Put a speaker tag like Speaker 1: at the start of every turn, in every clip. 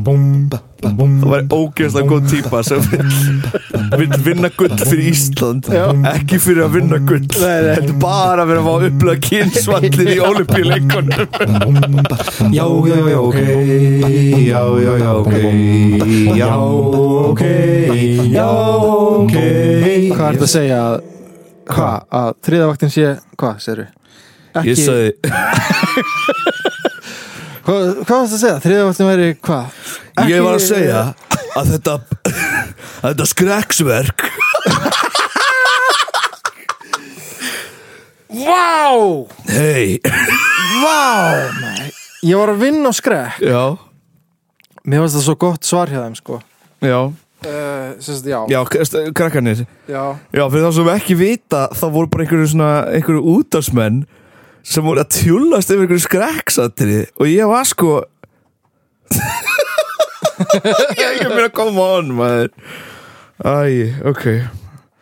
Speaker 1: Það væri ógeðslega góð típa sem vil vinna gull fyrir Ísland ekki fyrir að vinna gull heldur bara að vera að fá að upplega kynnsvallir í olimpíuleikunum
Speaker 2: Já, já, já, ok Já, já, já, ok Já, ok Já, ok
Speaker 3: Hvað er þetta að segja að Hvað, að þriðavaktin sé Hvað, segir við?
Speaker 1: Ég sagði,
Speaker 3: Hvað, hvað varst að segja? Þriðavaktin væri hvað?
Speaker 1: ég var að segja að þetta að þetta skreksverk
Speaker 3: Vá,
Speaker 1: hei,
Speaker 3: vá nei. Ég var að vinna á skrek
Speaker 1: já,
Speaker 3: Mér varst það svo gott svar hjá þeim, sko
Speaker 1: já
Speaker 3: uh, Sérst, já,
Speaker 1: já, kr- krakkarnir
Speaker 3: já.
Speaker 1: Já, fyrir þá sem ekki vita, þá voru bara einhverju svona, einhverju útarsmenn sem voru að tjúllast yfir einhverju skreksatri og ég var sko Ég er ekki að byrja að koma on, maður Æ, ok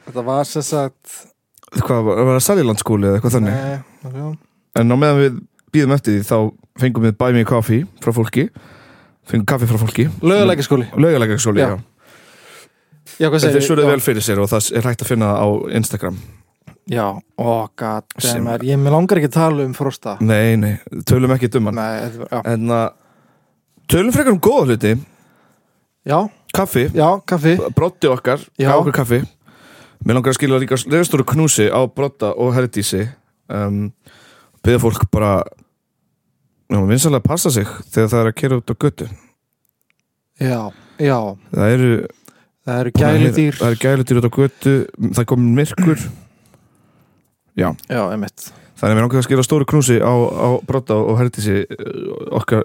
Speaker 3: Þetta var sérst að
Speaker 1: Hvað var, var það Salilandskúli eða eitthvað þannig?
Speaker 3: Nei, já.
Speaker 1: En á meðan við býðum eftir því þá fengum við Buy Me Coffee frá fólki Fengum kaffi frá fólki
Speaker 3: Löguleika skóli
Speaker 1: Laugalega svo
Speaker 3: Já.
Speaker 1: líka
Speaker 3: Já, hvað segir
Speaker 1: Þeir svöruðu vel fyrir sér og það er hægt að finna það á Instagram
Speaker 3: Já, ó, god
Speaker 1: Sem-
Speaker 3: damn er Ég með langar ekki að tala um frosta
Speaker 1: Nei, nei, tölum ekki um duman
Speaker 3: Nei, þetta var- já.
Speaker 1: En að Hérna, tölum frekar um góða hluti
Speaker 3: já,
Speaker 1: Kaffi,
Speaker 3: já, kaffi
Speaker 1: brotti okkar
Speaker 3: Já.
Speaker 1: Já okkur kaffi Mér langar að skilja líka leðastóru knúsi á brotta og herdísi um, Beða fólk bara Já, vinsanlega passa sig þegar það er að kera út á götu
Speaker 3: Já, já,
Speaker 1: Það eru
Speaker 3: það eru gæludýr
Speaker 1: Það eru gæludýr út á götu Það er komin myrkur
Speaker 3: Já, einmitt
Speaker 1: Þannig að mér langar að skilja stóru knúsi á, á brotta og herdísi uh, okkar,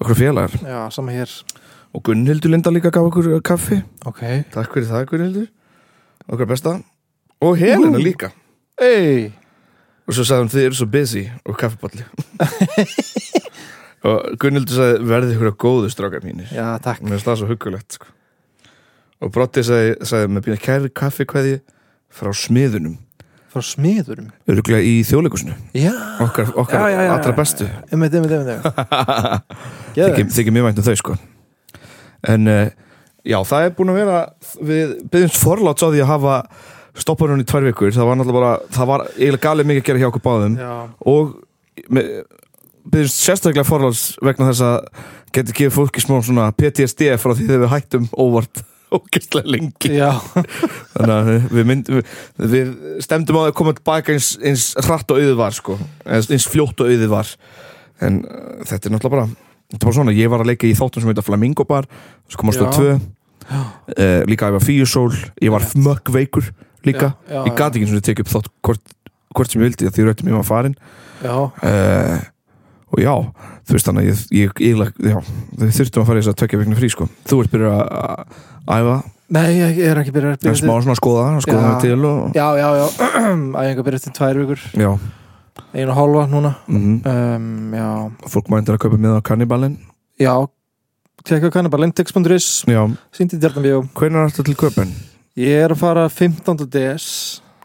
Speaker 1: okkar félagar
Speaker 3: Já, sama hér
Speaker 1: Og Gunnhildur Linda líka gaf okkur uh, kaffi
Speaker 3: Ok
Speaker 1: Takk fyrir það Gunnhildur Okkar besta Og Helena
Speaker 3: Ú.
Speaker 1: líka
Speaker 3: Ey
Speaker 1: Og svo sagði hún þið eru svo busy og kaffiballi Og Gunnhildur sagði verði ykkur að góðu strákar mínir
Speaker 3: Já, takk
Speaker 1: Mér finnst það svo huggulegt sko. Og Brotti sagði, sagði með býna kæri kaffi kveði frá smiðunum
Speaker 3: Frá smiðurum
Speaker 1: Öruglega í þjóðleikusinu
Speaker 3: Já
Speaker 1: Okkar, okkar
Speaker 3: Já, já, já,
Speaker 1: allra
Speaker 3: já,
Speaker 1: bestu
Speaker 3: Einmitt, einmitt, einmitt
Speaker 1: Þykir þykir mjög vænt um þau sko En uh, já, það er búin að vera Við byggjumst forláts á því að hafa stoppar hún í tvær vikur Það var náttúrulega bara, það var eiginlega galið mikið að gera hjá okkur báðum
Speaker 3: Já
Speaker 1: Og byggjumst sérstaklega forláts vegna þess að Geti gefið fólki smá svona PTSD frá því þegar við hættum um óvart Ógæstlega lengi
Speaker 3: Já
Speaker 1: Þannig að við- við, mynd, við, við stemdum á að koma tilbaka eins, eins hratt og auðið var sko. eins, eins fljótt og auðið var en uh, þetta er náttúrulega bara þetta var svona, ég var að leika í þáttum sem heita Flamingo Bar svo kom á stöð
Speaker 3: Já.
Speaker 1: 2 uh, líka að ég var fíusól ég var
Speaker 3: Rétt.
Speaker 1: mökk veikur líka
Speaker 3: Já, já,
Speaker 1: ég gati ekki eins og tekið upp þátt hvort, hvort sem ég vildi því rautum ég var farin
Speaker 3: Já
Speaker 1: uh, og já, þú veist þannig að ég, ég, ég, já, við þurftum að fara í þess að tökja vegna frí sko. þú ert byrjað að að æfa
Speaker 3: Nei, ég ég er ekki byrjað að
Speaker 1: en smá
Speaker 3: byrja
Speaker 1: svona að skoða, að skoða
Speaker 3: Já.
Speaker 1: mig til og,
Speaker 3: Já, já, já Æfingar byrjað til tvær vikur
Speaker 1: já.
Speaker 3: Einu og hálfa núna
Speaker 1: Mm
Speaker 3: um, Já
Speaker 1: Fólk mændir að kaupa með á kannibalin
Speaker 3: Já Tekka kannibal index.is
Speaker 1: Já,
Speaker 3: Sýndi djartanvíu
Speaker 1: hvernig er þetta til kaupin?
Speaker 3: Ég er að fara 15. des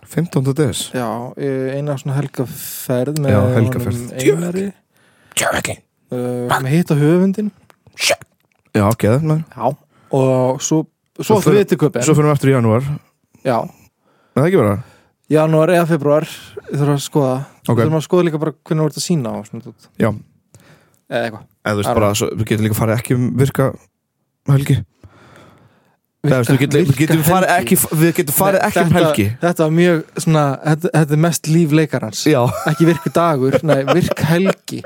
Speaker 1: 15. des
Speaker 3: Já, eh, eina svona helgaferð með
Speaker 1: Já, helgaferð.
Speaker 3: honum Einari
Speaker 1: Tjöki
Speaker 3: uh, með hitt á höfundin
Speaker 1: Já, ok, það er
Speaker 3: já. og svo, svo
Speaker 1: Svo
Speaker 3: áttu
Speaker 1: fyrir-
Speaker 3: við til köpinn
Speaker 1: Svo fyrir við aftur í janúar
Speaker 3: já,
Speaker 1: Er það ekki vera?
Speaker 3: janúar eða februar þurfum að skoða
Speaker 1: Ok.
Speaker 3: þurfum að skoða líka bara hvernig voru þetta sína á svona dót.
Speaker 1: Já.
Speaker 3: eða eitthvað
Speaker 1: Eða þú
Speaker 3: Já.
Speaker 1: veist bara, svo, við getum líka farið ekki um virka helgi Eða, þú veist, við,
Speaker 3: Virka-
Speaker 1: getum, við,
Speaker 3: virka
Speaker 1: getum farið
Speaker 3: helgi.
Speaker 1: ekki, við getum farið
Speaker 3: Nei,
Speaker 1: ekki um
Speaker 3: þetta-
Speaker 1: helgi
Speaker 3: þetta var mjög svona, þetta, þetta er mest líf leikarans
Speaker 1: Já,
Speaker 3: ekki virku dagur, nei virk helgi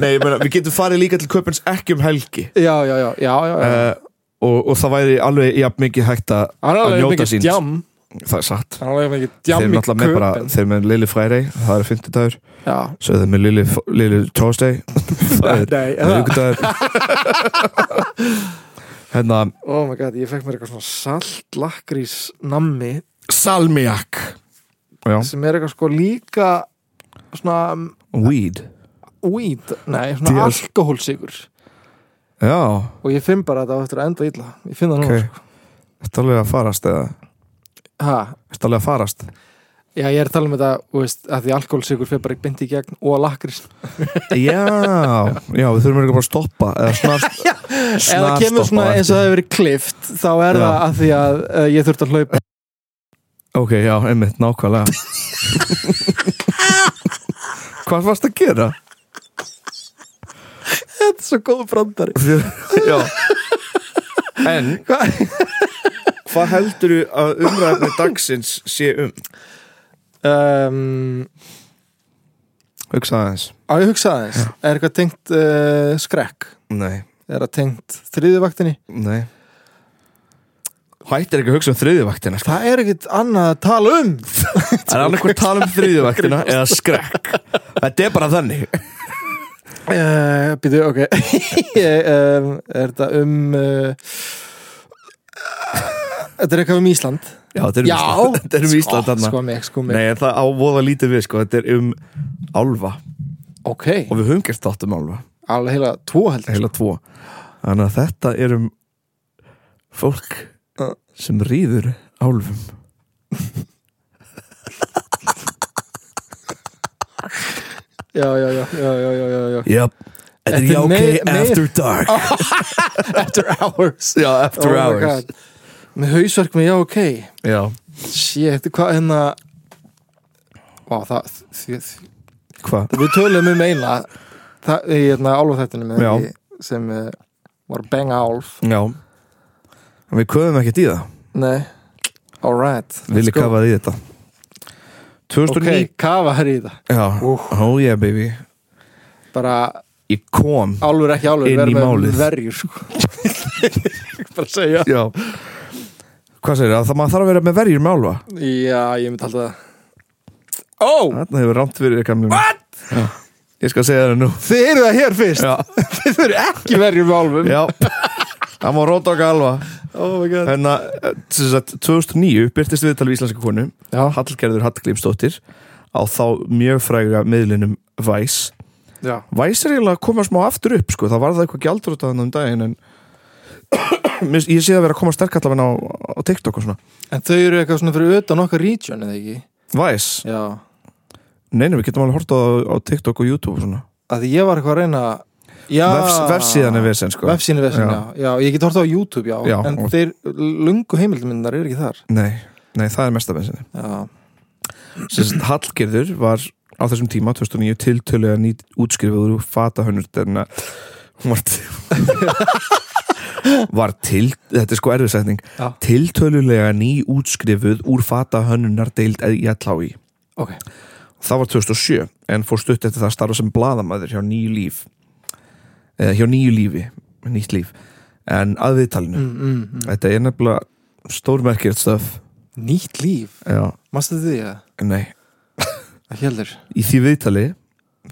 Speaker 1: nei, ég meina, við getum farið líka til kaupins ekki um helgi
Speaker 3: já, já, já, já, já, já.
Speaker 1: uh, og, og það væri alveg jafn mikið hægt að
Speaker 3: Það er
Speaker 1: að
Speaker 3: alveg
Speaker 1: njóta
Speaker 3: mikið
Speaker 1: sín.
Speaker 3: djam
Speaker 1: Það er satt
Speaker 3: Það er alveg mikið
Speaker 1: Þeir
Speaker 3: djam
Speaker 1: eru
Speaker 3: í
Speaker 1: náttúrulega með bara,
Speaker 3: köpen
Speaker 1: þeir eru með Lili Friday, það er fimmtudagur
Speaker 3: Já,
Speaker 1: Svo þeir eru með Lili, Lili Tuesday Það er
Speaker 3: nei,
Speaker 1: Það er
Speaker 3: eða-
Speaker 1: ykkur dagur Hérna
Speaker 3: oh my god, ég fekk mér eitthvað svona salt lakrís nammi
Speaker 1: Salmiak Já,
Speaker 3: sem er eitthvað sko líka svona
Speaker 1: weed
Speaker 3: weed, nei, svona
Speaker 1: Deal.
Speaker 3: alkohólsigur
Speaker 1: Já,
Speaker 3: og ég finn bara að þetta á eftir að enda illa ég finn það
Speaker 1: ok
Speaker 3: núna,
Speaker 1: Þetta alveg að farast eða
Speaker 3: sko. ha,
Speaker 1: Þetta alveg að farast
Speaker 3: Já, ég er að tala um þetta, þú veist, að því alkoholsykur fyrir bara beint í gegn og lakrís
Speaker 1: Já, já, við þurfum eitthvað bara að stoppa Eða snart
Speaker 3: Ef það kemur svona eins og það hefur verið klift þá er
Speaker 1: Já.
Speaker 3: það að því að uh, ég þurft að hlaupa
Speaker 1: Ok, já, einmitt, nákvæmlega Hvað varst að gera?
Speaker 3: Þetta er svo góð brandari
Speaker 1: já En Hvað heldur þú að umræðinu dagsins sé um?
Speaker 3: um,
Speaker 1: Hugsaði aðeins
Speaker 3: Á ég hugsa aðeins, er eitthvað tengt uh, skrekk?
Speaker 1: Nei,
Speaker 3: Er það tengt þriðivaktinni?
Speaker 1: nei Hættir ekki að hugsa um þriðivaktina sko.
Speaker 3: Það er ekkit annað að tala um
Speaker 1: Það er annað hvað tala um þriðivaktina eða skrekk Þetta er bara þannig
Speaker 3: Uh, Býtu, ok ég, um, Er þetta um uh, Þetta er eitthvað um Ísland
Speaker 1: Já, þetta er um
Speaker 3: Já,
Speaker 1: Ísland, þetta er um Ísland
Speaker 3: sko,
Speaker 1: þarna.
Speaker 3: sko mig, sko mig
Speaker 1: Nei, en það ávoða lítið við sko, þetta er um álfa
Speaker 3: Ok,
Speaker 1: og við höfum gert þátt um álfa,
Speaker 3: alveg heila tvo heldur
Speaker 1: heila tvo þannig að þetta er um fólk sem rýður álfum
Speaker 3: Já, já, já, já, já, já, já, já.
Speaker 1: Yep, þetta
Speaker 3: Þetta
Speaker 1: er
Speaker 3: er
Speaker 1: já ok
Speaker 3: meir- meir-
Speaker 1: after dark
Speaker 3: After hours
Speaker 1: Já, after
Speaker 3: Oh my
Speaker 1: hours
Speaker 3: God. Með hausverk með já, ok
Speaker 1: Já,
Speaker 3: Shit, hvað hérna Vá, það því, því,
Speaker 1: hvað?
Speaker 3: Við tölum um eina Það, í hérna, álfaþættinu með
Speaker 1: Já.
Speaker 3: því sem uh, var benga álf
Speaker 1: Já En Við köfum ekkert í það,
Speaker 3: Nei, all right
Speaker 1: Lili kafaði í þetta 2009
Speaker 3: Ok, kafa er í það
Speaker 1: Já,
Speaker 3: Úff.
Speaker 1: oh yeah baby
Speaker 3: bara
Speaker 1: Ég kom
Speaker 3: álfur ekki álfur
Speaker 1: Inn í
Speaker 3: við erum með
Speaker 1: málið.
Speaker 3: verjur sko. bara að segja
Speaker 1: Já Hvað segir það? Maður þarf að vera með verjur með álfa
Speaker 3: já, ég myndi alltaf það ó, oh,
Speaker 1: Þarna hefur rámt fyrir eitthvað mjög What? Já. Ég skal segja það nú
Speaker 3: þið eru það hér fyrst
Speaker 1: Já,
Speaker 3: þið eru ekki verjur með álfum
Speaker 1: já Það má róta okkar alva
Speaker 3: oh my god
Speaker 1: En að, Hérna, sem sagt, 2009 byrtist viðtal við íslenska konu
Speaker 3: já,
Speaker 1: Hallgerður Hallgrímsdóttir á þá mjög fræga miðlinum Væs
Speaker 3: já,
Speaker 1: Væs er eiginlega að koma smá aftur upp sko. það var það eitthvað gjaldur út af þennan um daginn en Mér- ég sé það vera að koma sterk allavega á, á TikTok og svona
Speaker 3: en þau eru eitthvað svona fyrir utan okkar region eða ekki
Speaker 1: Væs,
Speaker 3: já,
Speaker 1: nei, nei, við getum alveg horta á, á TikTok og YouTube og svona
Speaker 3: að því ég var eitthvað að reyna já,
Speaker 1: Vefs, Vefsíðan er vesen sko
Speaker 3: vefsíðan er vesen,
Speaker 1: Já.
Speaker 3: já. já, ég get horta á YouTube, já,
Speaker 1: Já,
Speaker 3: en
Speaker 1: og-
Speaker 3: þeir lungu heimildmyndar eru ekki þar
Speaker 1: Nei, nei, það er mesta vesenni
Speaker 3: já,
Speaker 1: Sem sagt, Hallgerður var á þessum tíma 2009 tiltölulega nýtt útskrifaður úr fatahönnur en hún var til var til, þetta er sko erfiðsetning
Speaker 3: Já.
Speaker 1: tiltölulega ný útskrifuð úr fatahönnunar deild í allái
Speaker 3: ok,
Speaker 1: það var 2007 en fór stutt eftir það að starfa sem bladamæður hjá nýju líf eða hjá nýju lífi, nýtt líf en að viðtalinu
Speaker 3: mm, mm, mm.
Speaker 1: þetta er nefnilega stórmerkjert stöf
Speaker 3: nýtt líf,
Speaker 1: já,
Speaker 3: mástu því að
Speaker 1: nei,
Speaker 3: ekki heldur
Speaker 1: í því viðtali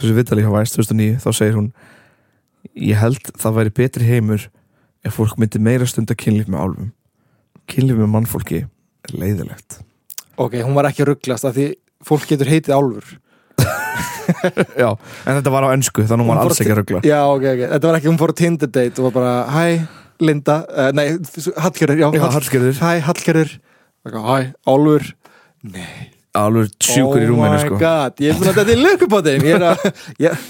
Speaker 1: þessu viðtali hjá Væs 2009 þá segir hún ég held það væri betri heimur ef fólk myndi meira stunda kynlíf með álfum kynlíf með mannfólki er leiðilegt
Speaker 3: Ok, hún var ekki að rugglast af því fólk getur heitið álfur
Speaker 1: já, en þetta var á ennsku þannig hún var
Speaker 3: Hún
Speaker 1: alls ekki að rögla
Speaker 3: Já, ok, ok, þetta var ekki, hún fór á Tinder date og var bara, hæ, Linda uh, Nei, Hallgerður, já,
Speaker 1: já,
Speaker 3: Hall-
Speaker 1: hallgerður,
Speaker 3: Hæ, Hallgerður Eitthvað, Hæ, álfur Nei,
Speaker 1: alveg sjúkur í rúminu
Speaker 3: Oh my
Speaker 1: sko.
Speaker 3: god, ég er búin að þetta er lökubótið Ég er að ég...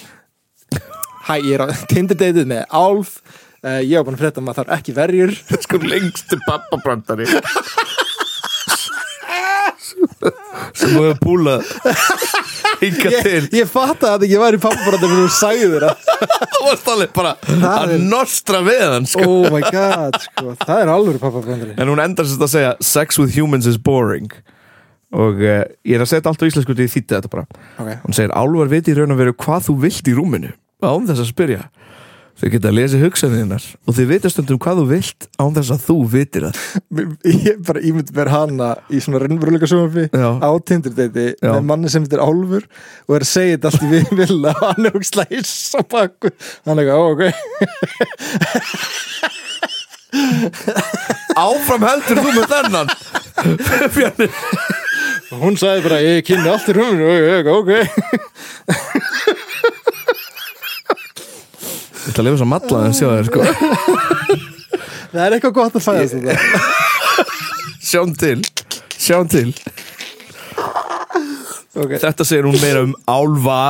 Speaker 3: Hæ, ég er á Tinder dateið með álf uh, Ég var búin að frétta að maður þarf ekki verjur
Speaker 1: sko lengstu pappabrandari sem þú hefur búlað hinga til
Speaker 3: Ég, ég fatta að ég var í pappabrönda fyrir hún sagði þér að
Speaker 1: það varst alveg bara að
Speaker 3: er-
Speaker 1: nostra við hann sko.
Speaker 3: Oh my god, sko, það er alvöru pappabröndari
Speaker 1: En hún endar sérst að segja Sex with humans is boring Og uh, ég er að segja þetta allt á íslensku Því þýtti þetta bara
Speaker 3: Ok,
Speaker 1: Hún segir álvar viti í raun og veru hvað þú vilt í rúminu Án þess að spyrja Þau geta að lesa hugsanirnar Og þau vita stundum hvað þú vilt Án þess að þú vitir það
Speaker 3: Mér- ég bara ímynd mér hana í svona raunveruleika sjónvarpi
Speaker 1: Já.
Speaker 3: á Tinder-deiti
Speaker 1: Já.
Speaker 3: með manni sem þetta er Álfur og er að segja þetta allt í við vilja og hann er hún slæs á bakku hann er eitthvað, ó, ok
Speaker 1: Áfram heldur þú með þennan Bjarni
Speaker 3: og hún sagði bara, ég kynni allt í rúminu og ég eitthvað, ok
Speaker 1: Ég ætla að lifa svo matla en sjá þér sko
Speaker 3: það er eitthvað gott að fæðast þetta
Speaker 1: Sjáum til Sjáum til
Speaker 3: ok,
Speaker 1: Þetta segir hún meira um álfa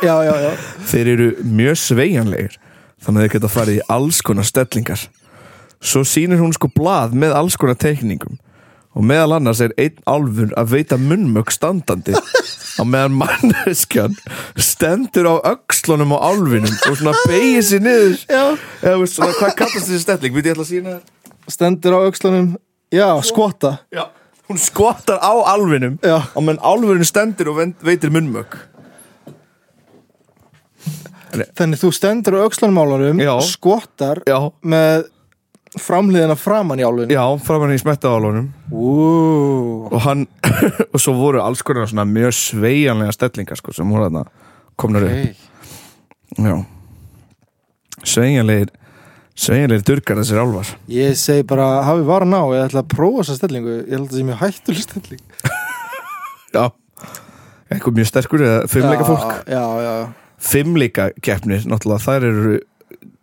Speaker 3: já, já, já
Speaker 1: Þeir eru mjög sveigjanlegir Þannig að þeir geta farið í alls konar stellingar Svo sýnir hún sko blað með alls konar teikningum Og meðal annars er einn álfur að veita munnmögg standandi á meðan manneskjan stendur á öxlunum á álfinum og svona beigir sér niður
Speaker 3: já,
Speaker 1: eða veist svona hvað kallast þessi stelling við ég ætla að sína þér
Speaker 3: stendur á aukslunum já, skota
Speaker 1: Já, hún skotar á alvinum
Speaker 3: Já.
Speaker 1: á meðan alvinum stendur og vend- veitir munnmögg
Speaker 3: þannig þú stendur á aukslunum álarum
Speaker 1: Já.
Speaker 3: skotar
Speaker 1: Já,
Speaker 3: með framliðina framan í álunum
Speaker 1: já, framan í smetta álunum
Speaker 3: Ú,
Speaker 1: og hann, og svo voru alls konar svona mjög sveianlega stellingar sko, sem voru þarna komnar
Speaker 3: hey.
Speaker 1: upp Já Sveianlegir Sveianlegir durkar þessir álfar
Speaker 3: ég segi bara hafi varan á, ég ætla að prófa þessa stellingu ég held að það sé mjög hættuleg stelling
Speaker 1: Já Eitthvað mjög sterkur eða fimmleika fólk
Speaker 3: já, já, já,
Speaker 1: Fimmleika keppnir, náttúrulega, þær eru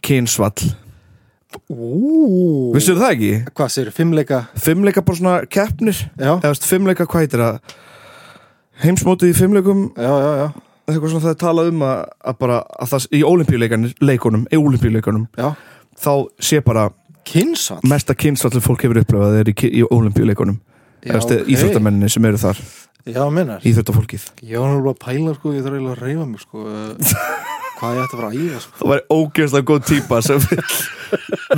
Speaker 1: kynsvall
Speaker 3: Ú,
Speaker 1: Vissu það ekki?
Speaker 3: hvað segir, fimmleika
Speaker 1: Fimmleika bara svona keppnir
Speaker 3: já,
Speaker 1: eða veist, fimmleika hvað heitir að heimsmótið í fimmleikum
Speaker 3: já, já, já,
Speaker 1: eitthvað svona það er talað um að, að bara að það í olimpíuleikunum í olimpíuleikunum
Speaker 3: já.
Speaker 1: þá sé bara
Speaker 3: kynsall
Speaker 1: mesta kynstallu fólk hefur upplöfað er í, ki- í olimpíuleikunum
Speaker 3: Já,
Speaker 1: eða okay.
Speaker 3: ok.
Speaker 1: íþróttamenninni sem eru þar
Speaker 3: já, minnar,
Speaker 1: íþróttafólkið
Speaker 3: ég var náttúrulega að pæla sko, ég þarf eiginlega að reyfa mig sko eh, hvað ég ætti að fara að æfa sko
Speaker 1: það var ógeðslega góð típa sem vill,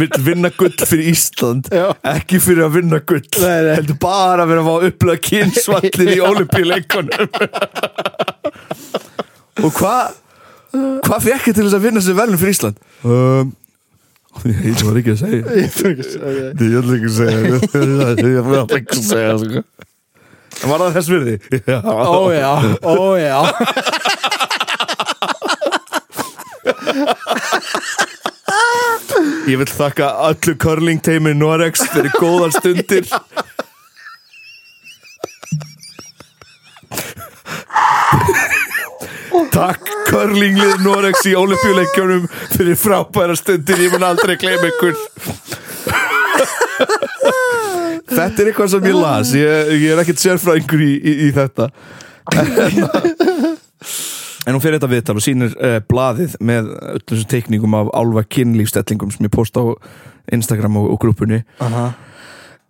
Speaker 1: vill vinna gull fyrir Ísland
Speaker 3: já,
Speaker 1: ekki fyrir að vinna gull
Speaker 3: Nei, nei.
Speaker 1: heldur bara að vera að fá að upplöfa kynsvallir í olimpíuleikunum og hvað hvað fekk ég til þess að vinna sér velum fyrir Ísland um, ég ég var ekki að segja
Speaker 3: ég þarf ekki að segja
Speaker 1: ég ætla ekki að segja ég ætla ekki að segja sko. En var það þess virði? Já.
Speaker 3: ó já, ó já
Speaker 1: Ég vil þakka allu curling-teimi Norex fyrir góðar stundir Takk curlinglið Norex í olimpíuleikjunum fyrir frábæra stundir ég mun aldrei gleyma ykkur Þetta er eitthvað sem ég las ég, ég er ekkert sérfræðingur í, í, í þetta En hún fer þetta viðtal og sýnir uh, blaðið með öllum þessum teikningum af álfa kynlífstellingum sem ég posta á Instagram og, og grúpunni
Speaker 3: Aha.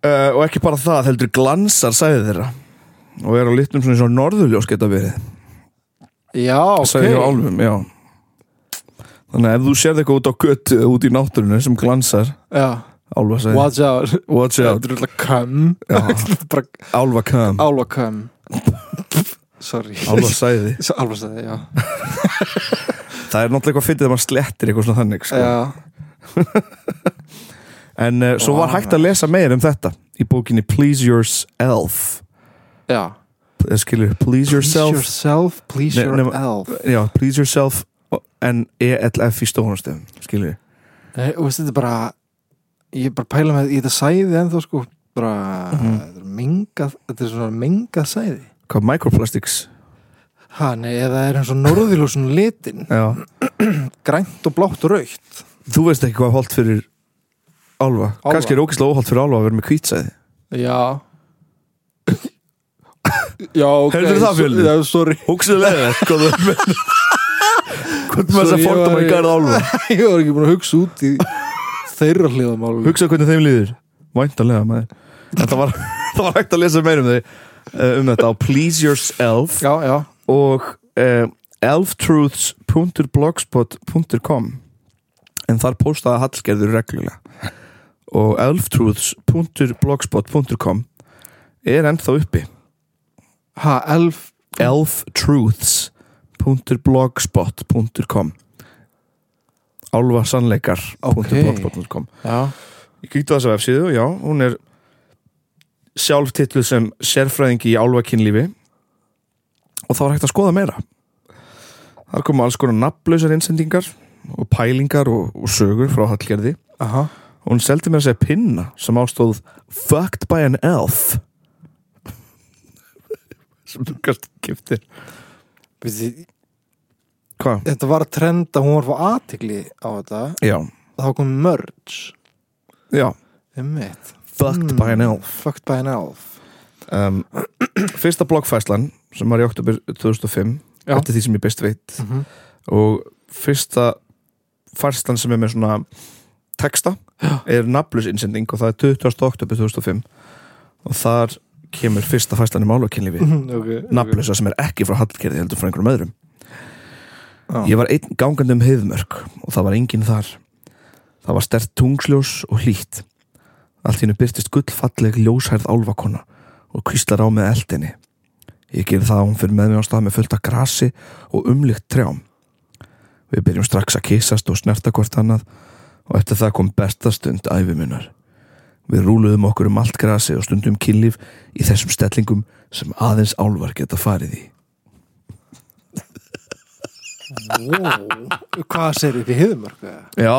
Speaker 1: uh, og ekki bara það, heldur glansar sæði þeirra og er á litum svona, eins og norðurljós geta verið
Speaker 3: já,
Speaker 1: sæði hjá
Speaker 3: ok
Speaker 1: álfum, já Þannig að ef þú sérð eitthvað út á gött út í náttúrunni sem glansar
Speaker 3: já,
Speaker 1: álfa sæði
Speaker 3: watch out
Speaker 1: Watch
Speaker 3: þetta
Speaker 1: out
Speaker 3: er alltaf come
Speaker 1: já,
Speaker 3: bara
Speaker 1: Álfa kam,
Speaker 3: álva come sorry
Speaker 1: álfa sæði
Speaker 3: álva segði, já
Speaker 1: Það er náttúrulega eitthvað fyndið að maður slettir eitthvað svona þannig sko.
Speaker 3: já,
Speaker 1: En uh, svo var
Speaker 3: Vá.
Speaker 1: hægt að lesa meir um þetta í bókinni Please Yourself
Speaker 3: já
Speaker 1: Eh, skilur, please
Speaker 3: please
Speaker 1: yourself
Speaker 3: yourself, please
Speaker 1: Nei,
Speaker 3: your
Speaker 1: nema-
Speaker 3: elf
Speaker 1: já, please yourself en ELF í stónastöðum skilur,
Speaker 3: Nei, og veist þetta er bara ég er bara að pæla með, ég þetta sæði ennþá sko bara,
Speaker 1: Mhm.
Speaker 3: þetta er mengað þetta er svona mengað sæði
Speaker 1: hvað microplastics
Speaker 3: ha, nei, eða er eins og norðilúsun litin
Speaker 1: já.
Speaker 3: grænt og blátt og raukt
Speaker 1: þú veist ekki hvað er holdt fyrir álfa,
Speaker 3: Álfa.
Speaker 1: kannski er ógæslega óholt fyrir álfa að vera með kvítsæði
Speaker 3: já já, ok
Speaker 1: Heyrðu það,
Speaker 3: so-
Speaker 1: Fjölnir?
Speaker 3: já, sorry
Speaker 1: hugsaðlega hvað það er hvað maður
Speaker 3: Sorry,
Speaker 1: þess að
Speaker 3: ég
Speaker 1: fordama
Speaker 3: var-
Speaker 1: í garð álfa
Speaker 3: ég var ekki búin að hugsa út í þeirra hliðamál
Speaker 1: hugsaðu hvernig þeim líður, væntanlega maður en það var, það var hægt að lesa meir um þau eh, um þetta á please yourself
Speaker 3: já, já,
Speaker 1: og uh, elftruths.blogspot.com en þar postaði Hallgerður reglulega og elftruths.blogspot.com er ennþá uppi
Speaker 3: ha, elf elftruths.blogspot.com
Speaker 1: álfasannleikar.blogspot.com
Speaker 3: já,
Speaker 1: Ég kíkti á þessa vefsíðu, já, hún er sjálf titluð sem sérfræðingi í álfakinnlífi og þá er hægt að skoða meira. Þar koma alls konar nafnlausar innsendingar og pælingar og, og sögur frá Hallgerði
Speaker 3: aha
Speaker 1: og hún seldi mér að segja pinna sem ástóð Fucked by an elf sem þú kannski kiptir.
Speaker 3: Við þið-
Speaker 1: Hvað?
Speaker 3: þetta var að trenda, hún var að fá aðtigli á þetta
Speaker 1: Já,
Speaker 3: þá kom merge
Speaker 1: já,
Speaker 3: Einmitt.
Speaker 1: Fucked by an elf.
Speaker 3: Fucked by an elf
Speaker 1: Hmm. um, Fyrsta bloggfæslan sem var í oktober 2005
Speaker 3: Já.
Speaker 1: eftir því sem ég best veit
Speaker 3: Mhm.
Speaker 1: og fyrsta farstan sem er með svona texta er nafnlaus innsending og það er 20. oktober 2005 og þar kemur fyrsta farstan í málokynlífi
Speaker 3: Mhm.
Speaker 1: mm.
Speaker 3: okay,
Speaker 1: nafnlausa sem er ekki frá Hallgerði heldur frá einhverjum öðrum Ég var einn gangandi um heiðmörk og það var enginn þar. Það var stert tungsljós og hlýtt. Allt í hennu byrtist gullfalleg ljóshærð álfakona og kvíslar á með eldinni. Ég geri það að hún fyrir með mig á stað með fullt af grasi og umlykt trjám. Við byrjum strax að kissast og snerta hvort annað og eftir það kom besta stund æfimunar. Við rúluðum okkur um allt grasi og stundum kynlíf í þessum stellingum sem aðeins álvar geta farið í.
Speaker 3: Ó, Hvað segir upp í hiðumörk?
Speaker 1: Já,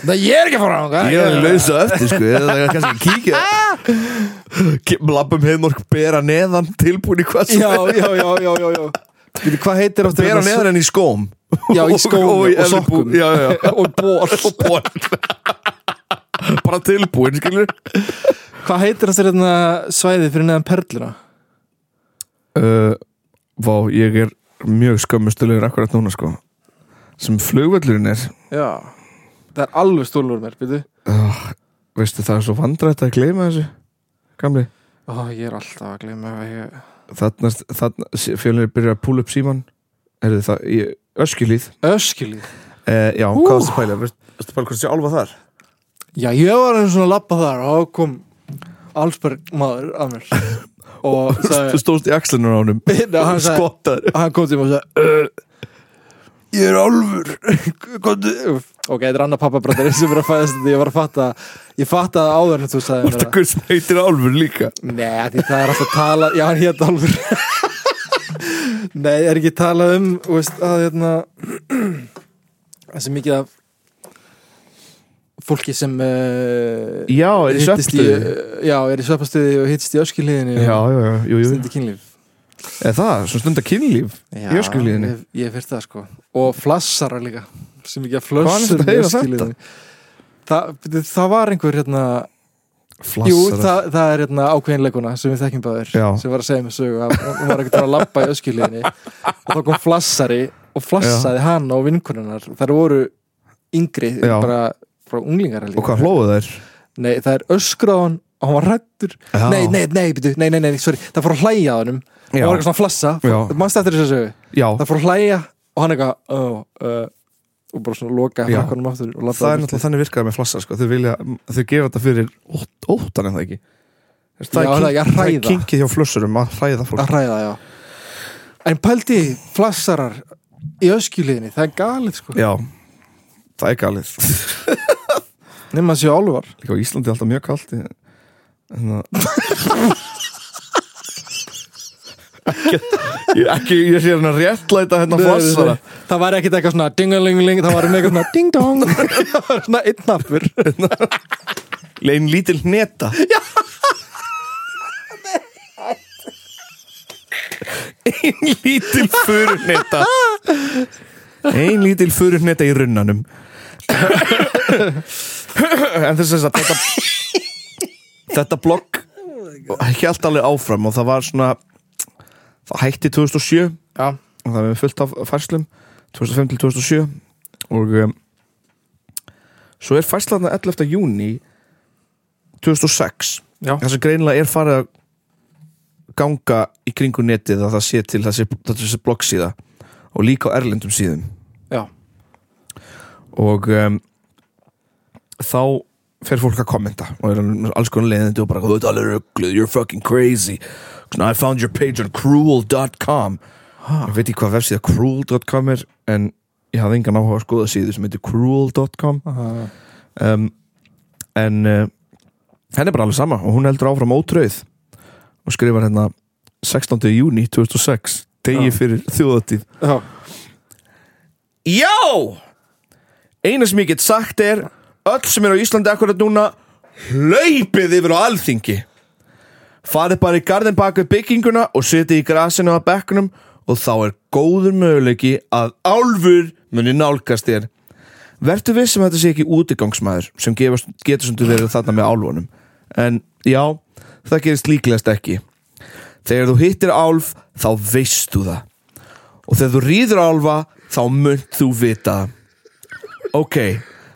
Speaker 3: Það ég er ekki að fara á hann
Speaker 1: Ég er að lausa eftir sko Það er kannski að kíkja Ke- Labbum heiðmorg bera neðan Tilbúin í hvað sem
Speaker 3: Já,
Speaker 1: er
Speaker 3: já, já, já, já, já. Bíddu, Hvað heitir aftur
Speaker 1: Bera
Speaker 3: þetta?
Speaker 1: neðan en í skóm
Speaker 3: Já, í skóm og,
Speaker 1: í
Speaker 3: og,
Speaker 1: efri bú-
Speaker 3: sokkum
Speaker 1: Já, já, já.
Speaker 3: Og ból
Speaker 1: Og ból Bara tilbúin skilur
Speaker 3: Hvað heitir þetta hérna svæði fyrir neðan perluna?
Speaker 1: uh, Vá, ég er mjög skömmustulegur akkurat núna sko Sem flugvöllurinn er
Speaker 3: Já Það er alveg stúlur mér, byrju
Speaker 1: uh, Veistu það er svo vandrætt að gleyma þessu Gamli
Speaker 3: Ó, ég er alltaf að gleyma að ég...
Speaker 1: Þarna, þarna fjölunir byrjar að púla upp síman Er þið það í öskilíð
Speaker 3: Öskilíð
Speaker 1: Uh, já,
Speaker 3: Ú.
Speaker 1: hvað varstu að pæla? Varstu að pæla hvort sé álfa þar?
Speaker 3: Já, ég var einu svona að labba þar og þá kom Allsberg maður að mér og
Speaker 1: Þú
Speaker 3: sagði,
Speaker 1: stóðst í axlunar á honum
Speaker 3: Já,
Speaker 1: sko.
Speaker 3: hann sagði-
Speaker 1: Skottaður
Speaker 3: hann kom til mig og sagði "Ö, Ég er álfur Komdu Ok, þetta er annar pappabrættar sem er að fæðast þetta ég var að fatta ég fattaði áður en þú sagði mér
Speaker 1: Varstu hver sem heitir álfur líka
Speaker 3: það Nei, því það er alltaf að tala Já, hann hétt álfur Nei, er ekki talað um þú veist, að hérna þessi mikið af fólki sem uh,
Speaker 1: Já, er í
Speaker 3: hittist í,
Speaker 1: svefnstöðu
Speaker 3: eh, já, er í svefnstöði og hittist í öskilíðinni
Speaker 1: Já, já, já, jú,
Speaker 3: og
Speaker 1: jú
Speaker 3: stundi kynlíf
Speaker 1: Eða það, svona stundar kynlíf
Speaker 3: já,
Speaker 1: Í öskjuhlíðinni?
Speaker 3: ég, ég fyrir það sko og flassara líka sem ekki að
Speaker 1: Hvaðan er
Speaker 3: flössur
Speaker 1: þetta að heyra þetta?
Speaker 3: það, byrju, það var einhver hérna,
Speaker 1: Flassar
Speaker 3: jú, það, það er hérna ákveðinleikuna sem við þekkjum báður
Speaker 1: Já.
Speaker 3: sem var að segja með sögu að hún var ekkert að labba í öskilíðinni og þá kom flassari og flassaði hann og vinkununnar þær voru yngri
Speaker 1: Já.
Speaker 3: bara frá unglingar
Speaker 1: Og hvað hlóðu þær?
Speaker 3: Nei, það er öskraðan og hann var rættur
Speaker 1: Já.
Speaker 3: Nei, nei, nei, byrju, nei, nei, nei, sorry Það fór að hlæja að honum Það
Speaker 1: Já.
Speaker 3: var eitthvað svona að flassa
Speaker 1: Já.
Speaker 3: Manst eftir þessu sögu
Speaker 1: Já,
Speaker 3: Það fór að hlæja og hann eitthvað ó, uh, Og bara svona loka
Speaker 1: Já.
Speaker 3: hlækkanum aftur og labbaði
Speaker 1: það er
Speaker 3: burt.
Speaker 1: náttúrulega þannig virkaði með flassar sko Þau vilja, þau gefa þetta fyrir ótt- óttan en það ekki Þess,
Speaker 3: Já, það er ekki að
Speaker 1: það
Speaker 3: hræða.
Speaker 1: er kynkið hjá flössurum að hræða fólk
Speaker 3: Að hræða, já En pældi flassarar í öskjuliðinni Það er galið, sko
Speaker 1: Já, það er galið sko.
Speaker 3: Nefn að séu álvar
Speaker 1: Líka á Íslandi er alltaf mjög kalt hérna. í- en það ekki, ég- ekki, ég sé hérna réttlæta hérna flassara
Speaker 3: Það var ekkit eitthvað svona dingalingling Það var um eitthvað svona ding-dong Það var svona einn nafnur
Speaker 1: Lein lítil hneta Ein lítil furuneta Ein lítil furuneta í runnanum En þess að þetta Þetta blogg Hjælt alveg áfram og það var svona Það hætti 2007
Speaker 3: Já,
Speaker 1: og það hefur fullt af færslum 2005 til 2007 og um, svo er færslarna 11. júni 2006
Speaker 3: Já.
Speaker 1: þar sem greinilega er farið að ganga í kringu netið að það sé til þessi, þessi bloggsíða og líka á erlendum síðum
Speaker 3: já,
Speaker 1: og um, þá fer fólk að kommenta og er með alls konar leiðandi og bara þú ert alveg ruggluð, you're fucking crazy I found your page on cruel.com ég veit ekki hvað vefsíða cruel.com er en ég hafði engan áhuga að skoða síðu sem heitir cruel.com
Speaker 3: Aha.
Speaker 1: um, en uh, henni er bara alveg sama og hún heldur áfram ótröð og skrifar hérna 16. júni 2006 degi
Speaker 3: Já.
Speaker 1: fyrir þjóðatíð
Speaker 3: já.
Speaker 1: Já! Einu sem ég get sagt er öll sem er á Íslandi akkurat núna hlaupið yfir á alþingi farið bara í garðin bak við bygginguna og setið í grasinu á bekknum og þá er góður möguleiki að álfur muni nálgast þér Vertu viss sem þetta sé ekki útigangsmaður sem gefast, getur sem þú verið þarna með álfunum en já, það gerist líklegast ekki Þegar þú hittir álf þá veist þú það Og þegar þú rýður álfa þá munt þú vita það Ok,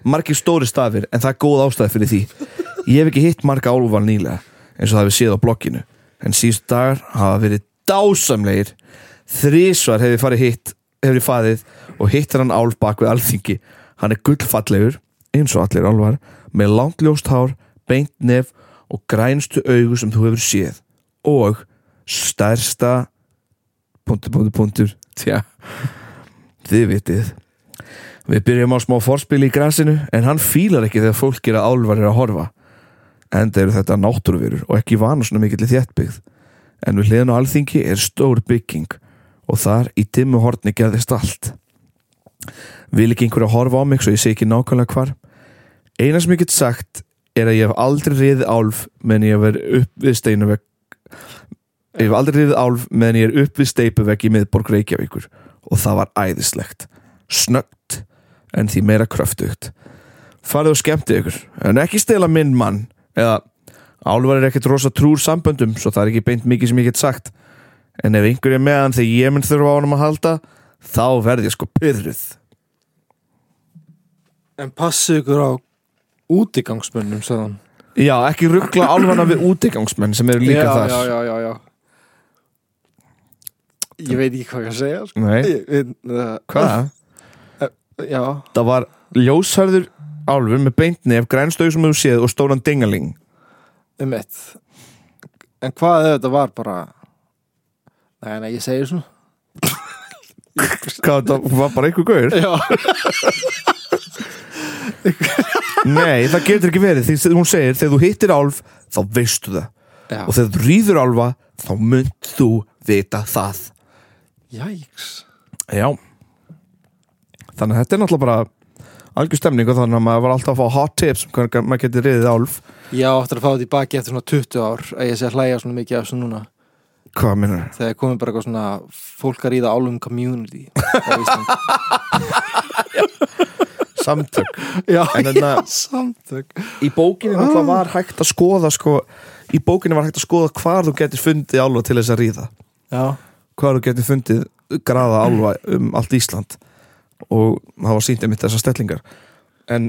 Speaker 1: margir stóri stafir en það er góð ástæði fyrir því Ég hef ekki hitt marga álfa nýlega eins og það hefur séð á blogginu En síðustu dagar hafa verið dásamlegir Þrísvar hefur farið hitt hefur ég faðið og hittir hann álf bak við alþingi Hann er gullfallegur eins og allir álfar með langt ljóst hár, beint nef og grænstu augu sem þú hefur séð og stærsta punktur, punktur, punktur tja, þið vitið við byrjum á smá forspili í grasinu en hann fílar ekki þegar fólk gera álvar er að horfa enda eru þetta náttúruverur og ekki vana svona mikill í þéttbyggð en við hliðin á alþingi er stór bygging og þar í dimmu horni gerðist allt vil ekki einhverja horfa á mig svo ég sé ekki nákvæmlega hvar eina sem ég get sagt er að ég hef aldrei riðið álf meðan ég hef verið upp við steinuvegg ég hef aldrei riðið álf meðan ég er upp við steipuvegg í miðborg Reykjavíkur og það var æðislegt snögt en því meira kröftugt farið og skemmtið ykkur en ekki stela minn mann eða álvar er ekkert rosa trúr samböndum svo það er ekki beint mikið sem ég get sagt en ef einhver er meðan þegar ég mun þurfa á honum að halda þá verð ég sko pyrruð
Speaker 3: En passu ykkur á útigangsmönnum, sagðan.
Speaker 1: já, ekki ruggla álfana við útigangsmenn sem eru líka
Speaker 3: já,
Speaker 1: þar
Speaker 3: Já, já, já, já. Ég veit ekki hvað ég að segja, sko.
Speaker 1: Nei,
Speaker 3: Ég- ég- uh,
Speaker 1: hvað?
Speaker 3: Já.
Speaker 1: Það var ljósharður álfur með beintni af grænstau sem þú séð og stóran dingaling
Speaker 3: Um eitt. En hvað ef þetta var bara... Nei, nei, ég segi svona.
Speaker 1: Hvað, það var bara einhver gaur?
Speaker 3: Já.
Speaker 1: Nei, það getur ekki verið því sem hún segir, þegar þú hittir álf þá veistu það
Speaker 3: Já.
Speaker 1: og þegar þú rýður álfa þá munt þú vita það
Speaker 3: Jæks.
Speaker 1: Já Þannig að þetta er náttúrulega bara algjör stemning og þannig að maður var alltaf að fá hot tips um hvernig maður getur riðið álf
Speaker 3: Ég áttur að fá þetta í baki eftir svona 20 ár að ég sé að hlæja svona mikið af þessu núna.
Speaker 1: Hvað minnur?
Speaker 3: Þegar ég komið bara eitthvað svona fólk að ríða álum community. á Íslandi.
Speaker 1: Samtök
Speaker 3: já,
Speaker 1: En
Speaker 3: já,
Speaker 1: þarna-
Speaker 3: samtök. Ah.
Speaker 1: Í bókinni náttúrulega var hægt að skoða sko, í bókinni var hægt að skoða hvar þú getur fundið álfa til þess að ríða
Speaker 3: Já.
Speaker 1: hvað þú getur fundið graða álfa um allt Ísland og það var sínt einmitt þessar stellingar en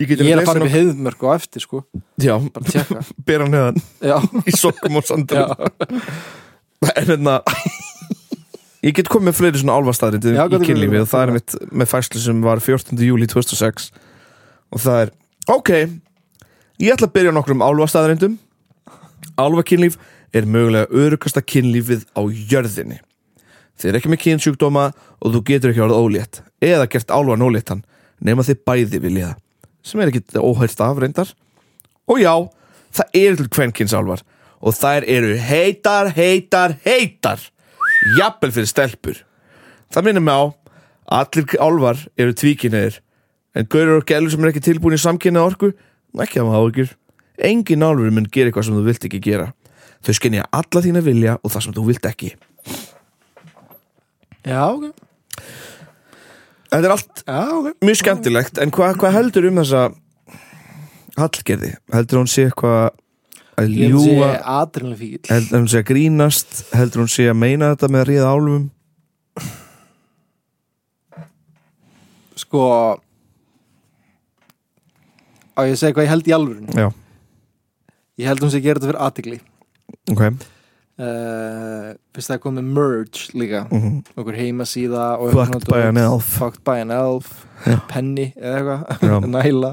Speaker 1: ég
Speaker 3: Ég er að fara upp í heiðmörk og eftir, sko.
Speaker 1: já,
Speaker 3: Bara tjekka.
Speaker 1: bera hann hefðan
Speaker 3: Já.
Speaker 1: í sokkum og
Speaker 3: Já.
Speaker 1: sandur en hérna ég get komið með fleiri svona álfastaðrindir í
Speaker 3: Já, gott, gott,
Speaker 1: kynlífi
Speaker 3: gott.
Speaker 1: og það er mitt með færslu sem var 14. júli 2006 og það er ok, ég ætla að byrja á nokkrum álfastaðrindum álfakynlíf er mögulega örugasta kynlífið á jörðinni þið er ekki með kynsjúkdóma og þú getur ekki orðið ólétt eða gert álfan óléttan nema þið bæði vilja það sem er ekki óhært af reyndar og já, það eru til kvenkinsálfar og þær eru heitar, heitar, heitar jafnvel fyrir stelpur það minnum mig á að allir álfar eru tvíkinniðir en gaurur og gælur sem er ekki tilbúin í samkynnað orku ekki að maður áhyggjur engin álfur mun gera eitthvað sem þú vilt ekki gera þau skynja alla þína vilja og það sem þú vilt ekki
Speaker 3: Já, ok.
Speaker 1: þetta er allt
Speaker 3: Já, ok.
Speaker 1: mjög skemmtilegt en hvað hva heldur um þessa Hallgerði? Heldur hún sé eitthvað að
Speaker 3: Ég held
Speaker 1: ljúa
Speaker 3: að sé adrenalin fíkil
Speaker 1: heldur hún sé að grínast heldur hún sé að meina þetta með að ríða álfum
Speaker 3: Sko Á ég að segja hvað ég held í alvörun
Speaker 1: já,
Speaker 3: Ég held hún sé að gera þetta fyrir aðtikli
Speaker 1: ok
Speaker 3: uh, Fyrst það er komið merge líka
Speaker 1: mm -hmm.
Speaker 3: Okkur heimasíða og hérna
Speaker 1: Fucked
Speaker 3: eitthvað
Speaker 1: by an
Speaker 3: dót.
Speaker 1: elf.
Speaker 3: Fucked by an elf
Speaker 1: Já.
Speaker 3: Penny eða
Speaker 1: Já.
Speaker 3: eitthvað Næla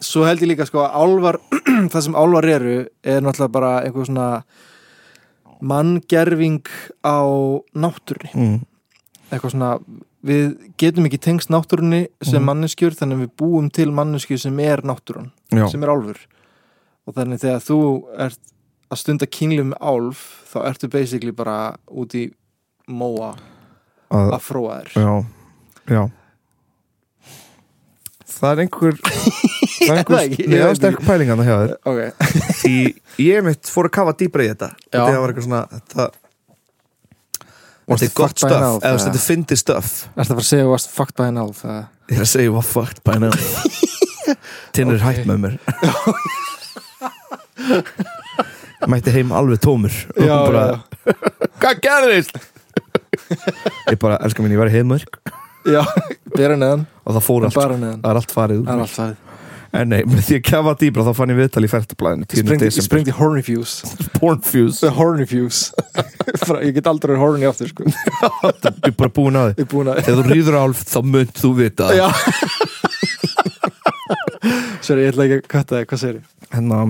Speaker 3: Svo held ég líka sko að álvar Það sem álvar eru er náttúrulega bara einhver svona manngerfing á náttúrunni
Speaker 1: mm.
Speaker 3: eitthvað svona við getum ekki tengst náttúrunni sem
Speaker 1: Mhm.
Speaker 3: manneskjur þannig að við búum til manneskju sem er náttúrun
Speaker 1: já,
Speaker 3: sem er álfur og þannig þegar þú ert að stunda kynlið með álf þá ertu basically bara út í móa
Speaker 1: að,
Speaker 3: að fróa þér
Speaker 1: já, já það er einhver það er einhver
Speaker 3: það ekki? Ég
Speaker 1: Nei, það er
Speaker 3: veit
Speaker 1: sterk pæling að það hjá þér
Speaker 3: ok,
Speaker 1: því ég mitt fór að kafa dýbra í þetta
Speaker 3: Já.
Speaker 1: þetta var eitthvað svona þetta
Speaker 3: Varstu
Speaker 1: þetta er gott
Speaker 3: fucked by an
Speaker 1: stöf
Speaker 3: elf,
Speaker 1: eða
Speaker 3: eða?
Speaker 1: þetta er fyndi stöf
Speaker 3: ert að fara að segja að þú varst fucked by an elf eða?
Speaker 1: Ég er að segja, what fucked by now Tinnur okay. hætt með mér mætti heim alveg tómur og
Speaker 3: Já,
Speaker 1: hún bara,
Speaker 3: já.
Speaker 1: hvað gerðist? ég bara, elskar mín, ég var í heimörk
Speaker 3: Já, bera neðan
Speaker 1: og það fór allt, sko.
Speaker 3: Bara neðan
Speaker 1: það er allt farið úr
Speaker 3: Það er
Speaker 1: mér.
Speaker 3: allt það
Speaker 1: en nei, með því að kjafa dýbra þá fann ég viðtal í færtablaðinu
Speaker 3: Ég
Speaker 1: 10.
Speaker 3: springdi, ég
Speaker 1: desember,
Speaker 3: springdi horny fuse
Speaker 1: pornfuse
Speaker 3: The horny fuse Fra- Ég get aldrei verið horny aftur sko Ég
Speaker 1: ég er bara búin að því
Speaker 3: er búin að
Speaker 1: þegar þú rýður álf þá mönt þú vita
Speaker 3: Já Sér, ég ætla ekki að kvæta það, hvað segir ég?
Speaker 1: hérna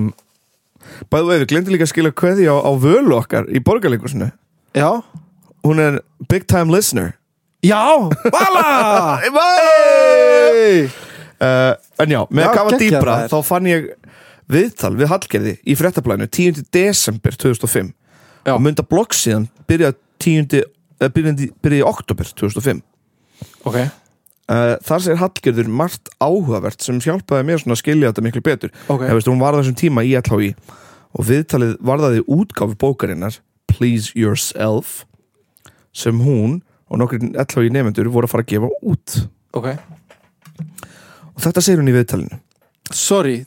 Speaker 1: bæðu við, glemdi líka að skila kveði á, á völu okkar í borgarleikusinu
Speaker 3: Já
Speaker 1: hún er big time listener
Speaker 3: Já, bala
Speaker 1: hey! uh, en já, með
Speaker 3: Já,
Speaker 1: að kafa
Speaker 3: geggjað
Speaker 1: dýbra
Speaker 3: maður.
Speaker 1: þá fann ég viðtal við Hallgerði í fréttaplæðinu 10. desember 2005
Speaker 3: Já.
Speaker 1: og mynda blogg síðan byrja 10. eh, byrjaði byrja í oktober 2005
Speaker 3: Ok,
Speaker 1: Uh, þar segir Hallgerður margt áhugavert sem hjálpaði mér svona að skilja þetta miklu betur
Speaker 3: ok
Speaker 1: okay. veist, hún var á þessum tíma í LHI og viðtalið varðaði útgáfu bókarinnar Please Yourself sem hún og nokkur LHI nefendur voru að fara að gefa út
Speaker 3: Ok
Speaker 1: og þetta segir hún í viðtalinu
Speaker 3: Sorry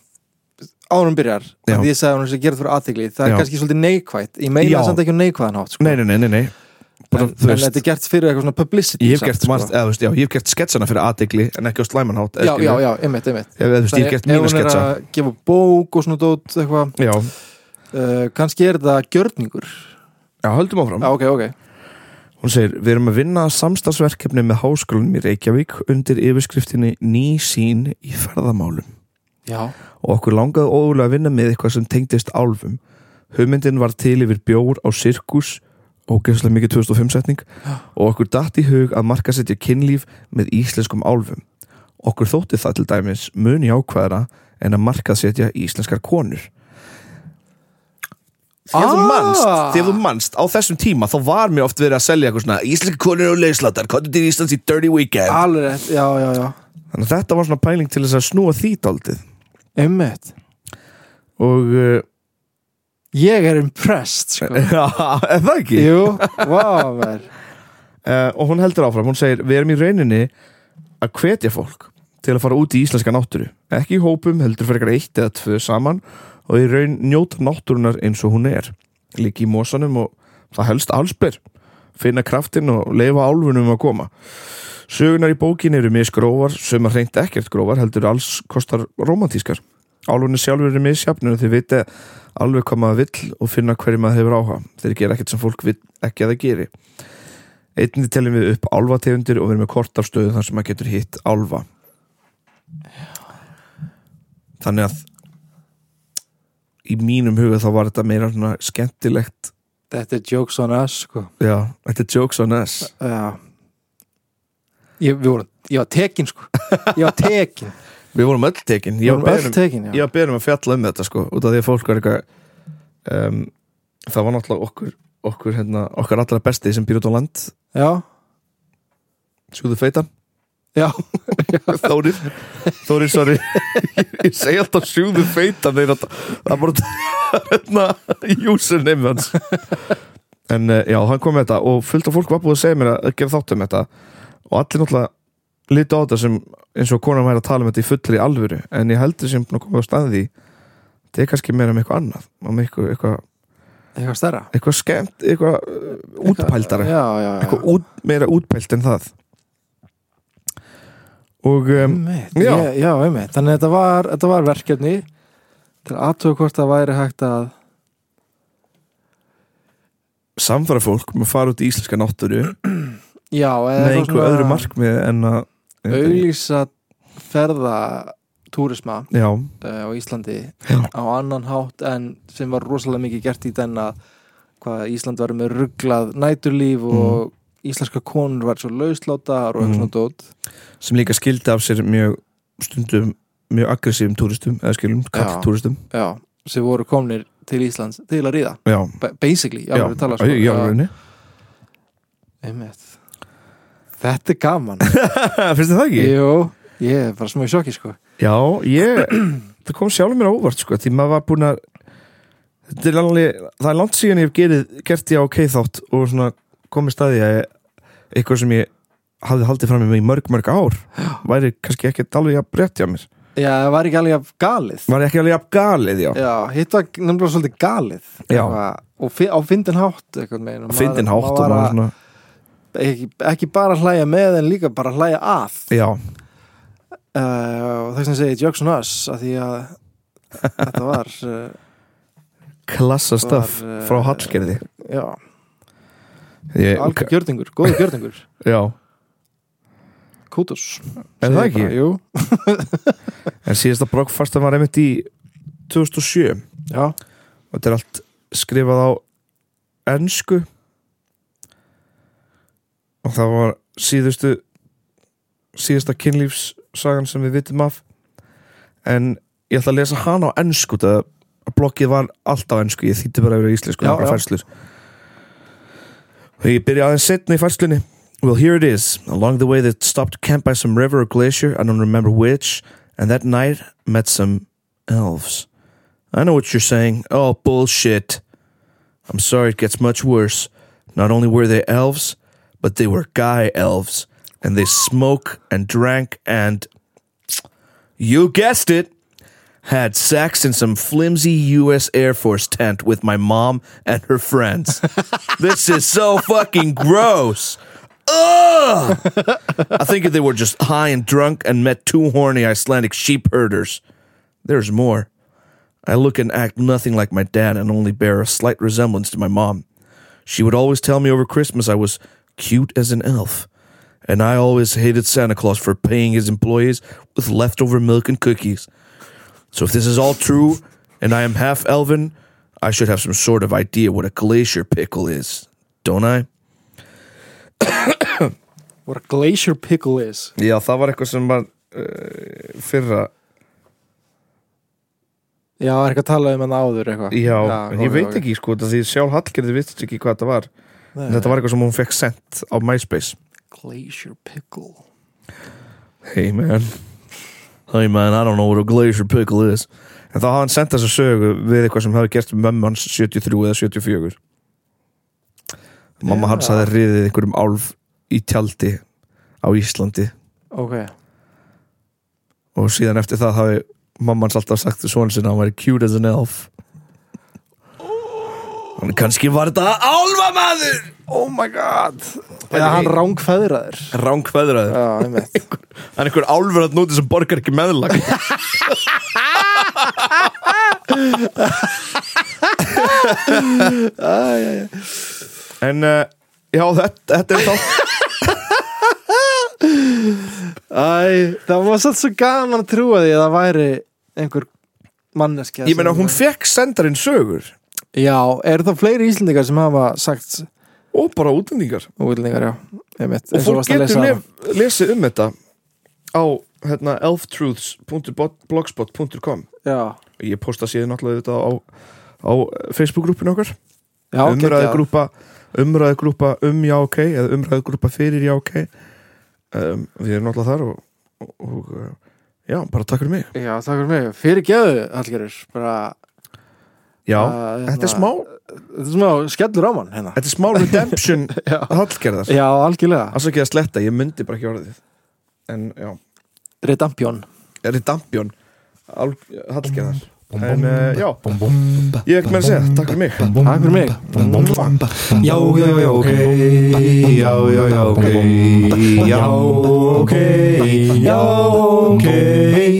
Speaker 3: Ánum byrjar
Speaker 1: Já.
Speaker 3: Því ég sagði hún sem gerði fyrir aðtegli Það er
Speaker 1: Já.
Speaker 3: kannski svolítið neikvætt Ég meina
Speaker 1: Já.
Speaker 3: það samt ekki um neikvæðan hátt sko.
Speaker 1: nei, nei, nei, nei, nei. Bara,
Speaker 3: en,
Speaker 1: þú
Speaker 3: en
Speaker 1: veist,
Speaker 3: þetta er gert fyrir eitthvað svona publicity
Speaker 1: ég hef
Speaker 3: samt, sko.
Speaker 1: gert margt, eða, þú veist, já, ég hef gert sketsana fyrir aðdegli en ekki á slæmanhátt
Speaker 3: Já, já, já, einmitt, einmitt
Speaker 1: Ég, veist, ég hef gert mínu
Speaker 3: ef hún er
Speaker 1: sketsa
Speaker 3: að gefa bók og svona dót eitthvað
Speaker 1: já,
Speaker 3: uh, kannski er þetta gjörningur
Speaker 1: já, höldum áfram
Speaker 3: Já, ok, ok
Speaker 1: Hún segir, við erum að vinna að samstagsverkefni með háskólanum í Reykjavík undir yfirskriftinni Ný sín í ferðamálum
Speaker 3: Já,
Speaker 1: og okkur langaði ógulega að vinna með eitthvað sem tengdist álfum. Hugmyndin var til yfir bjór á sirkus ógeðslega mikið 2005 setning og okkur datt í hug að marka setja kynlíf með íslenskum álfum. Okkur þótti það til dæmis mun jákvæðara en að marka setja íslenskar konur. Þegar þú
Speaker 3: Ah!
Speaker 1: manst, þegar þú manst á þessum tíma þá var mér oft verið að selja eitthvað svona íslenskar konur og leiðslatar, kontur til Íslands í Dirty Weekend.
Speaker 3: alveg rétt, já, já, já
Speaker 1: Þannig að þetta var svona pæling til þess að snúa því daldið
Speaker 3: Einmitt
Speaker 1: og uh,
Speaker 3: Ég er impressed, sko
Speaker 1: Já, er það Eh, ekki?
Speaker 3: Jú, vá, verð
Speaker 1: Uh, og hún heldur áfram, hún segir Við erum í rauninni að hvetja fólk til að fara út í íslenska náttúru Ekki í hópum, heldur fyrir eitthvað eitt eða tvö saman og í raun njóta náttúrunar eins og hún er Líki í mosanum og það helst allsbyr Finna kraftin og leifa álfunum að koma Sögunar í bókin eru misgrófar, sem að hreint ekkert grófar heldur alls kostar romantískar Álfunni sjálfur eru misjafnir og þeir vita alveg hvað maður vill og finna hverju maður hefur áhuga Þeir gera ekkert sem fólk vill ekki að það geri Einnig teljum við upp álfategundir og við erum með kort af stöðu þar sem maður getur hitt álfa. Þannig að í mínum huga þá var þetta meira svona skemmtilegt
Speaker 3: Þetta er jokes on us, sko
Speaker 1: Já, þetta er jokes on us
Speaker 3: Já Ég, við vorum, ég var tekin, sko Ég var tekin
Speaker 1: Við vorum öll tekin Ég
Speaker 3: Ég
Speaker 1: var
Speaker 3: var öll
Speaker 1: beðin um,
Speaker 3: tekin,
Speaker 1: ég
Speaker 3: já
Speaker 1: var beðin um að fjalla um þetta sko út af því að fólk var eitthvað um, það var náttúrulega okkur okkur, hérna, okkar allra besti sem býr út á land
Speaker 3: Já,
Speaker 1: Sjúðu feitan
Speaker 3: já,
Speaker 1: Þórir Þórir, sorry Ég segi alltaf sjúðu feita þeir að það er bara hérna username hans En eh, já, hann kom með þetta og fullt af fólk var búið að segja mér að að gera þátt um þetta og allir náttúrulega lítu á þetta sem eins og konan væri að tala um þetta í fullri alvöru en ég heldur sem búin að koma á staði því þetta er kannski meira um eitthvað annað um eitthvað, eitthvað,
Speaker 3: eitthvað stærra
Speaker 1: eitthvað skemmt, eitthvað uh, útpældara
Speaker 3: Já, já, já
Speaker 1: eitthvað út, meira útpælt en það og um,
Speaker 3: Einmitt,
Speaker 1: já.
Speaker 3: ég- já, einmitt Þannig að þetta var, þetta var verkefni til aðtöku hvort það væri hægt að
Speaker 1: samfara fólk með að fara út í íslenska náttúru
Speaker 3: Já, eða
Speaker 1: með
Speaker 3: eitthvað
Speaker 1: einhverju öðru markmið en að
Speaker 3: auglýsa ferða túrisma
Speaker 1: já,
Speaker 3: uh, á Íslandi
Speaker 1: Já.
Speaker 3: á annan hátt en sem var rosalega mikið gert í den að hvað Ísland var með rugglað næturlíf og íslenska konur var svo lauslátar og
Speaker 1: Mm.
Speaker 3: eitthvað svona dót
Speaker 1: sem líka skildi af sér mjög stundum mjög aggressívum túristum eða skilum, kalltúristum
Speaker 3: já, sem voru komnir til Íslands til að ríða,
Speaker 1: já,
Speaker 3: Ba- basically
Speaker 1: já,
Speaker 3: alveg tala, sko.
Speaker 1: já, já, rauninni.
Speaker 3: einmitt. Þetta er gaman
Speaker 1: finnst þið það ekki?
Speaker 3: Jú, ég er bara smá í sjokki sko
Speaker 1: já, ég, það kom sjálfur mér á óvart sko, því maður var búin að þetta er alveg, það er langt síðan ég hef gerið, gert ég á K-þátt og svona komið staði að ég, eitthvað sem ég hafði haldið fram með mig í mörg, mörg ár væri kannski ekkert alveg að breytja mér
Speaker 3: já, það var ekki alveg jafn galið
Speaker 1: Var ekki alveg jafn galið, já
Speaker 3: já, hitt var nefnilega svolítið galið
Speaker 1: Já.
Speaker 3: Eitthvað, og fi, á fyndin hátt einhvern veginn, og maður-
Speaker 1: Fyndin hátt og
Speaker 3: maður var
Speaker 1: maður
Speaker 3: að-
Speaker 1: svona
Speaker 3: ekki, ekki bara hlæja með en líka bara hlæja að
Speaker 1: Já,
Speaker 3: uh, og þess að segja Jokes on Us að því að þetta var uh,
Speaker 1: klassa stöf
Speaker 3: Var, eh,
Speaker 1: frá Hallgerði
Speaker 3: já,
Speaker 1: Ég-
Speaker 3: algjör gjörningur, góður gjörningur
Speaker 1: Já,
Speaker 3: kútus
Speaker 1: Er
Speaker 3: Segi
Speaker 1: það
Speaker 3: ég
Speaker 1: ekki?
Speaker 3: bara, jú,
Speaker 1: en síðasta brokkfastan var einmitt í 2007
Speaker 3: já,
Speaker 1: og þetta er allt skrifað á ennsku og það var síðustu síðasta kynlífssagan sem við vitum af en ég ætla að lesa hana á ennsku það bloggið var allt á ennsku ég þýtti bara yfir í íslensku
Speaker 3: Já,
Speaker 1: nokkrar
Speaker 3: já.
Speaker 1: færslur og ég byrja aðeins setna í færslunni Well, here it is. Along the way, they stopped camp by some river or glacier, I don't remember which, and that night met some elves. I know what you're saying. Oh, bullshit. I'm sorry, it gets much worse. Not only were they elves, but they were guy elves, and they smoked and drank and. You guessed it! Had sex in some flimsy US Air Force tent with my mom and her friends. this is so fucking gross! Ugh! I think they were just high and drunk and met two horny Icelandic sheep herders. There's more. I look and act nothing like my dad and only bear a slight resemblance to my mom. She would always tell me over Christmas I was cute as an elf. And I always hated Santa Claus for paying his employees with leftover milk and cookies. So if this is all true and I am half elven, I should have some sort of idea what a glacier pickle is, don't I?
Speaker 3: what a glacier pickle is
Speaker 1: Já, það var eitthvað sem var uh, fyrra
Speaker 3: já, er ekki að tala um hann áður eitthvað
Speaker 1: Já, en ég
Speaker 3: ok,
Speaker 1: veit
Speaker 3: ok.
Speaker 1: ekki sko þetta því sjálf Hallgerði vist ekki hvað þetta var
Speaker 3: Nei,
Speaker 1: Þetta var eitthvað sem hún fekk sendt á MySpace
Speaker 3: glacier pickle
Speaker 1: Hey man Hey man, I don't know what a glacier pickle is En þá hafði hann sendt þessa sögu við eitthvað sem hafi gert mömmu hans 73 eða 74 Mamma
Speaker 3: Já.
Speaker 1: hans hafði riðið einhverjum álf í tjaldi á Íslandi
Speaker 3: ok,
Speaker 1: og síðan eftir það hafi mamma hans alltaf sagt til svona sinna að hann væri cute as an elf Þannig kannski var þetta álfamaður Oh my god
Speaker 3: eða hann rángfæðraður
Speaker 1: ránkveðraður
Speaker 3: já, einmitt
Speaker 1: Hann er einhver álfur að núti sem borgar ekki meðlag En uh, já, þetta, þetta er þá
Speaker 3: Æ, það var svolítið svo gaman að trúa því að það væri einhver manneskja
Speaker 1: Ég meina
Speaker 3: sem-
Speaker 1: hún fekk sendarinn sögur
Speaker 3: Já, er það fleiri íslendingar sem hafa sagt
Speaker 1: og bara útlendingar
Speaker 3: útlendingar, já einmitt,
Speaker 1: og
Speaker 3: eins
Speaker 1: fólk
Speaker 3: varst að
Speaker 1: getur
Speaker 3: lesa
Speaker 1: lef, lesið um þetta á hérna, elftruths.blogspot.com
Speaker 3: Já,
Speaker 1: ég posta síðan náttúrulega þetta á, á Facebook-grúpinu okkar
Speaker 3: já ok, já.
Speaker 1: umræðugrúpa umræðugrúpa um já ok eða umræðugrúpa fyrir já ok um, við erum náttúrulega þar og, og, og uh, já, bara takk fyrir mig
Speaker 3: Já, takk fyrir mig, fyrir geðu, Hallgerður bara,
Speaker 1: já,
Speaker 3: að, hérna,
Speaker 1: þetta er smá
Speaker 3: Þetta er smá skellur á mann hérna
Speaker 1: þetta er smá redemption
Speaker 3: Já,
Speaker 1: hallgerðar
Speaker 3: já algjörlega,
Speaker 1: alveg ekki að sletta, ég myndi bara ekki orðið en já,
Speaker 3: redampjón
Speaker 1: redemption hallgerðar
Speaker 2: En, eh, já.
Speaker 1: Ég meira að segja, takk fyrir mig.
Speaker 2: Takk fyrir mig Já, já, já, ok Já, já, já, ok Já, ok Já, ok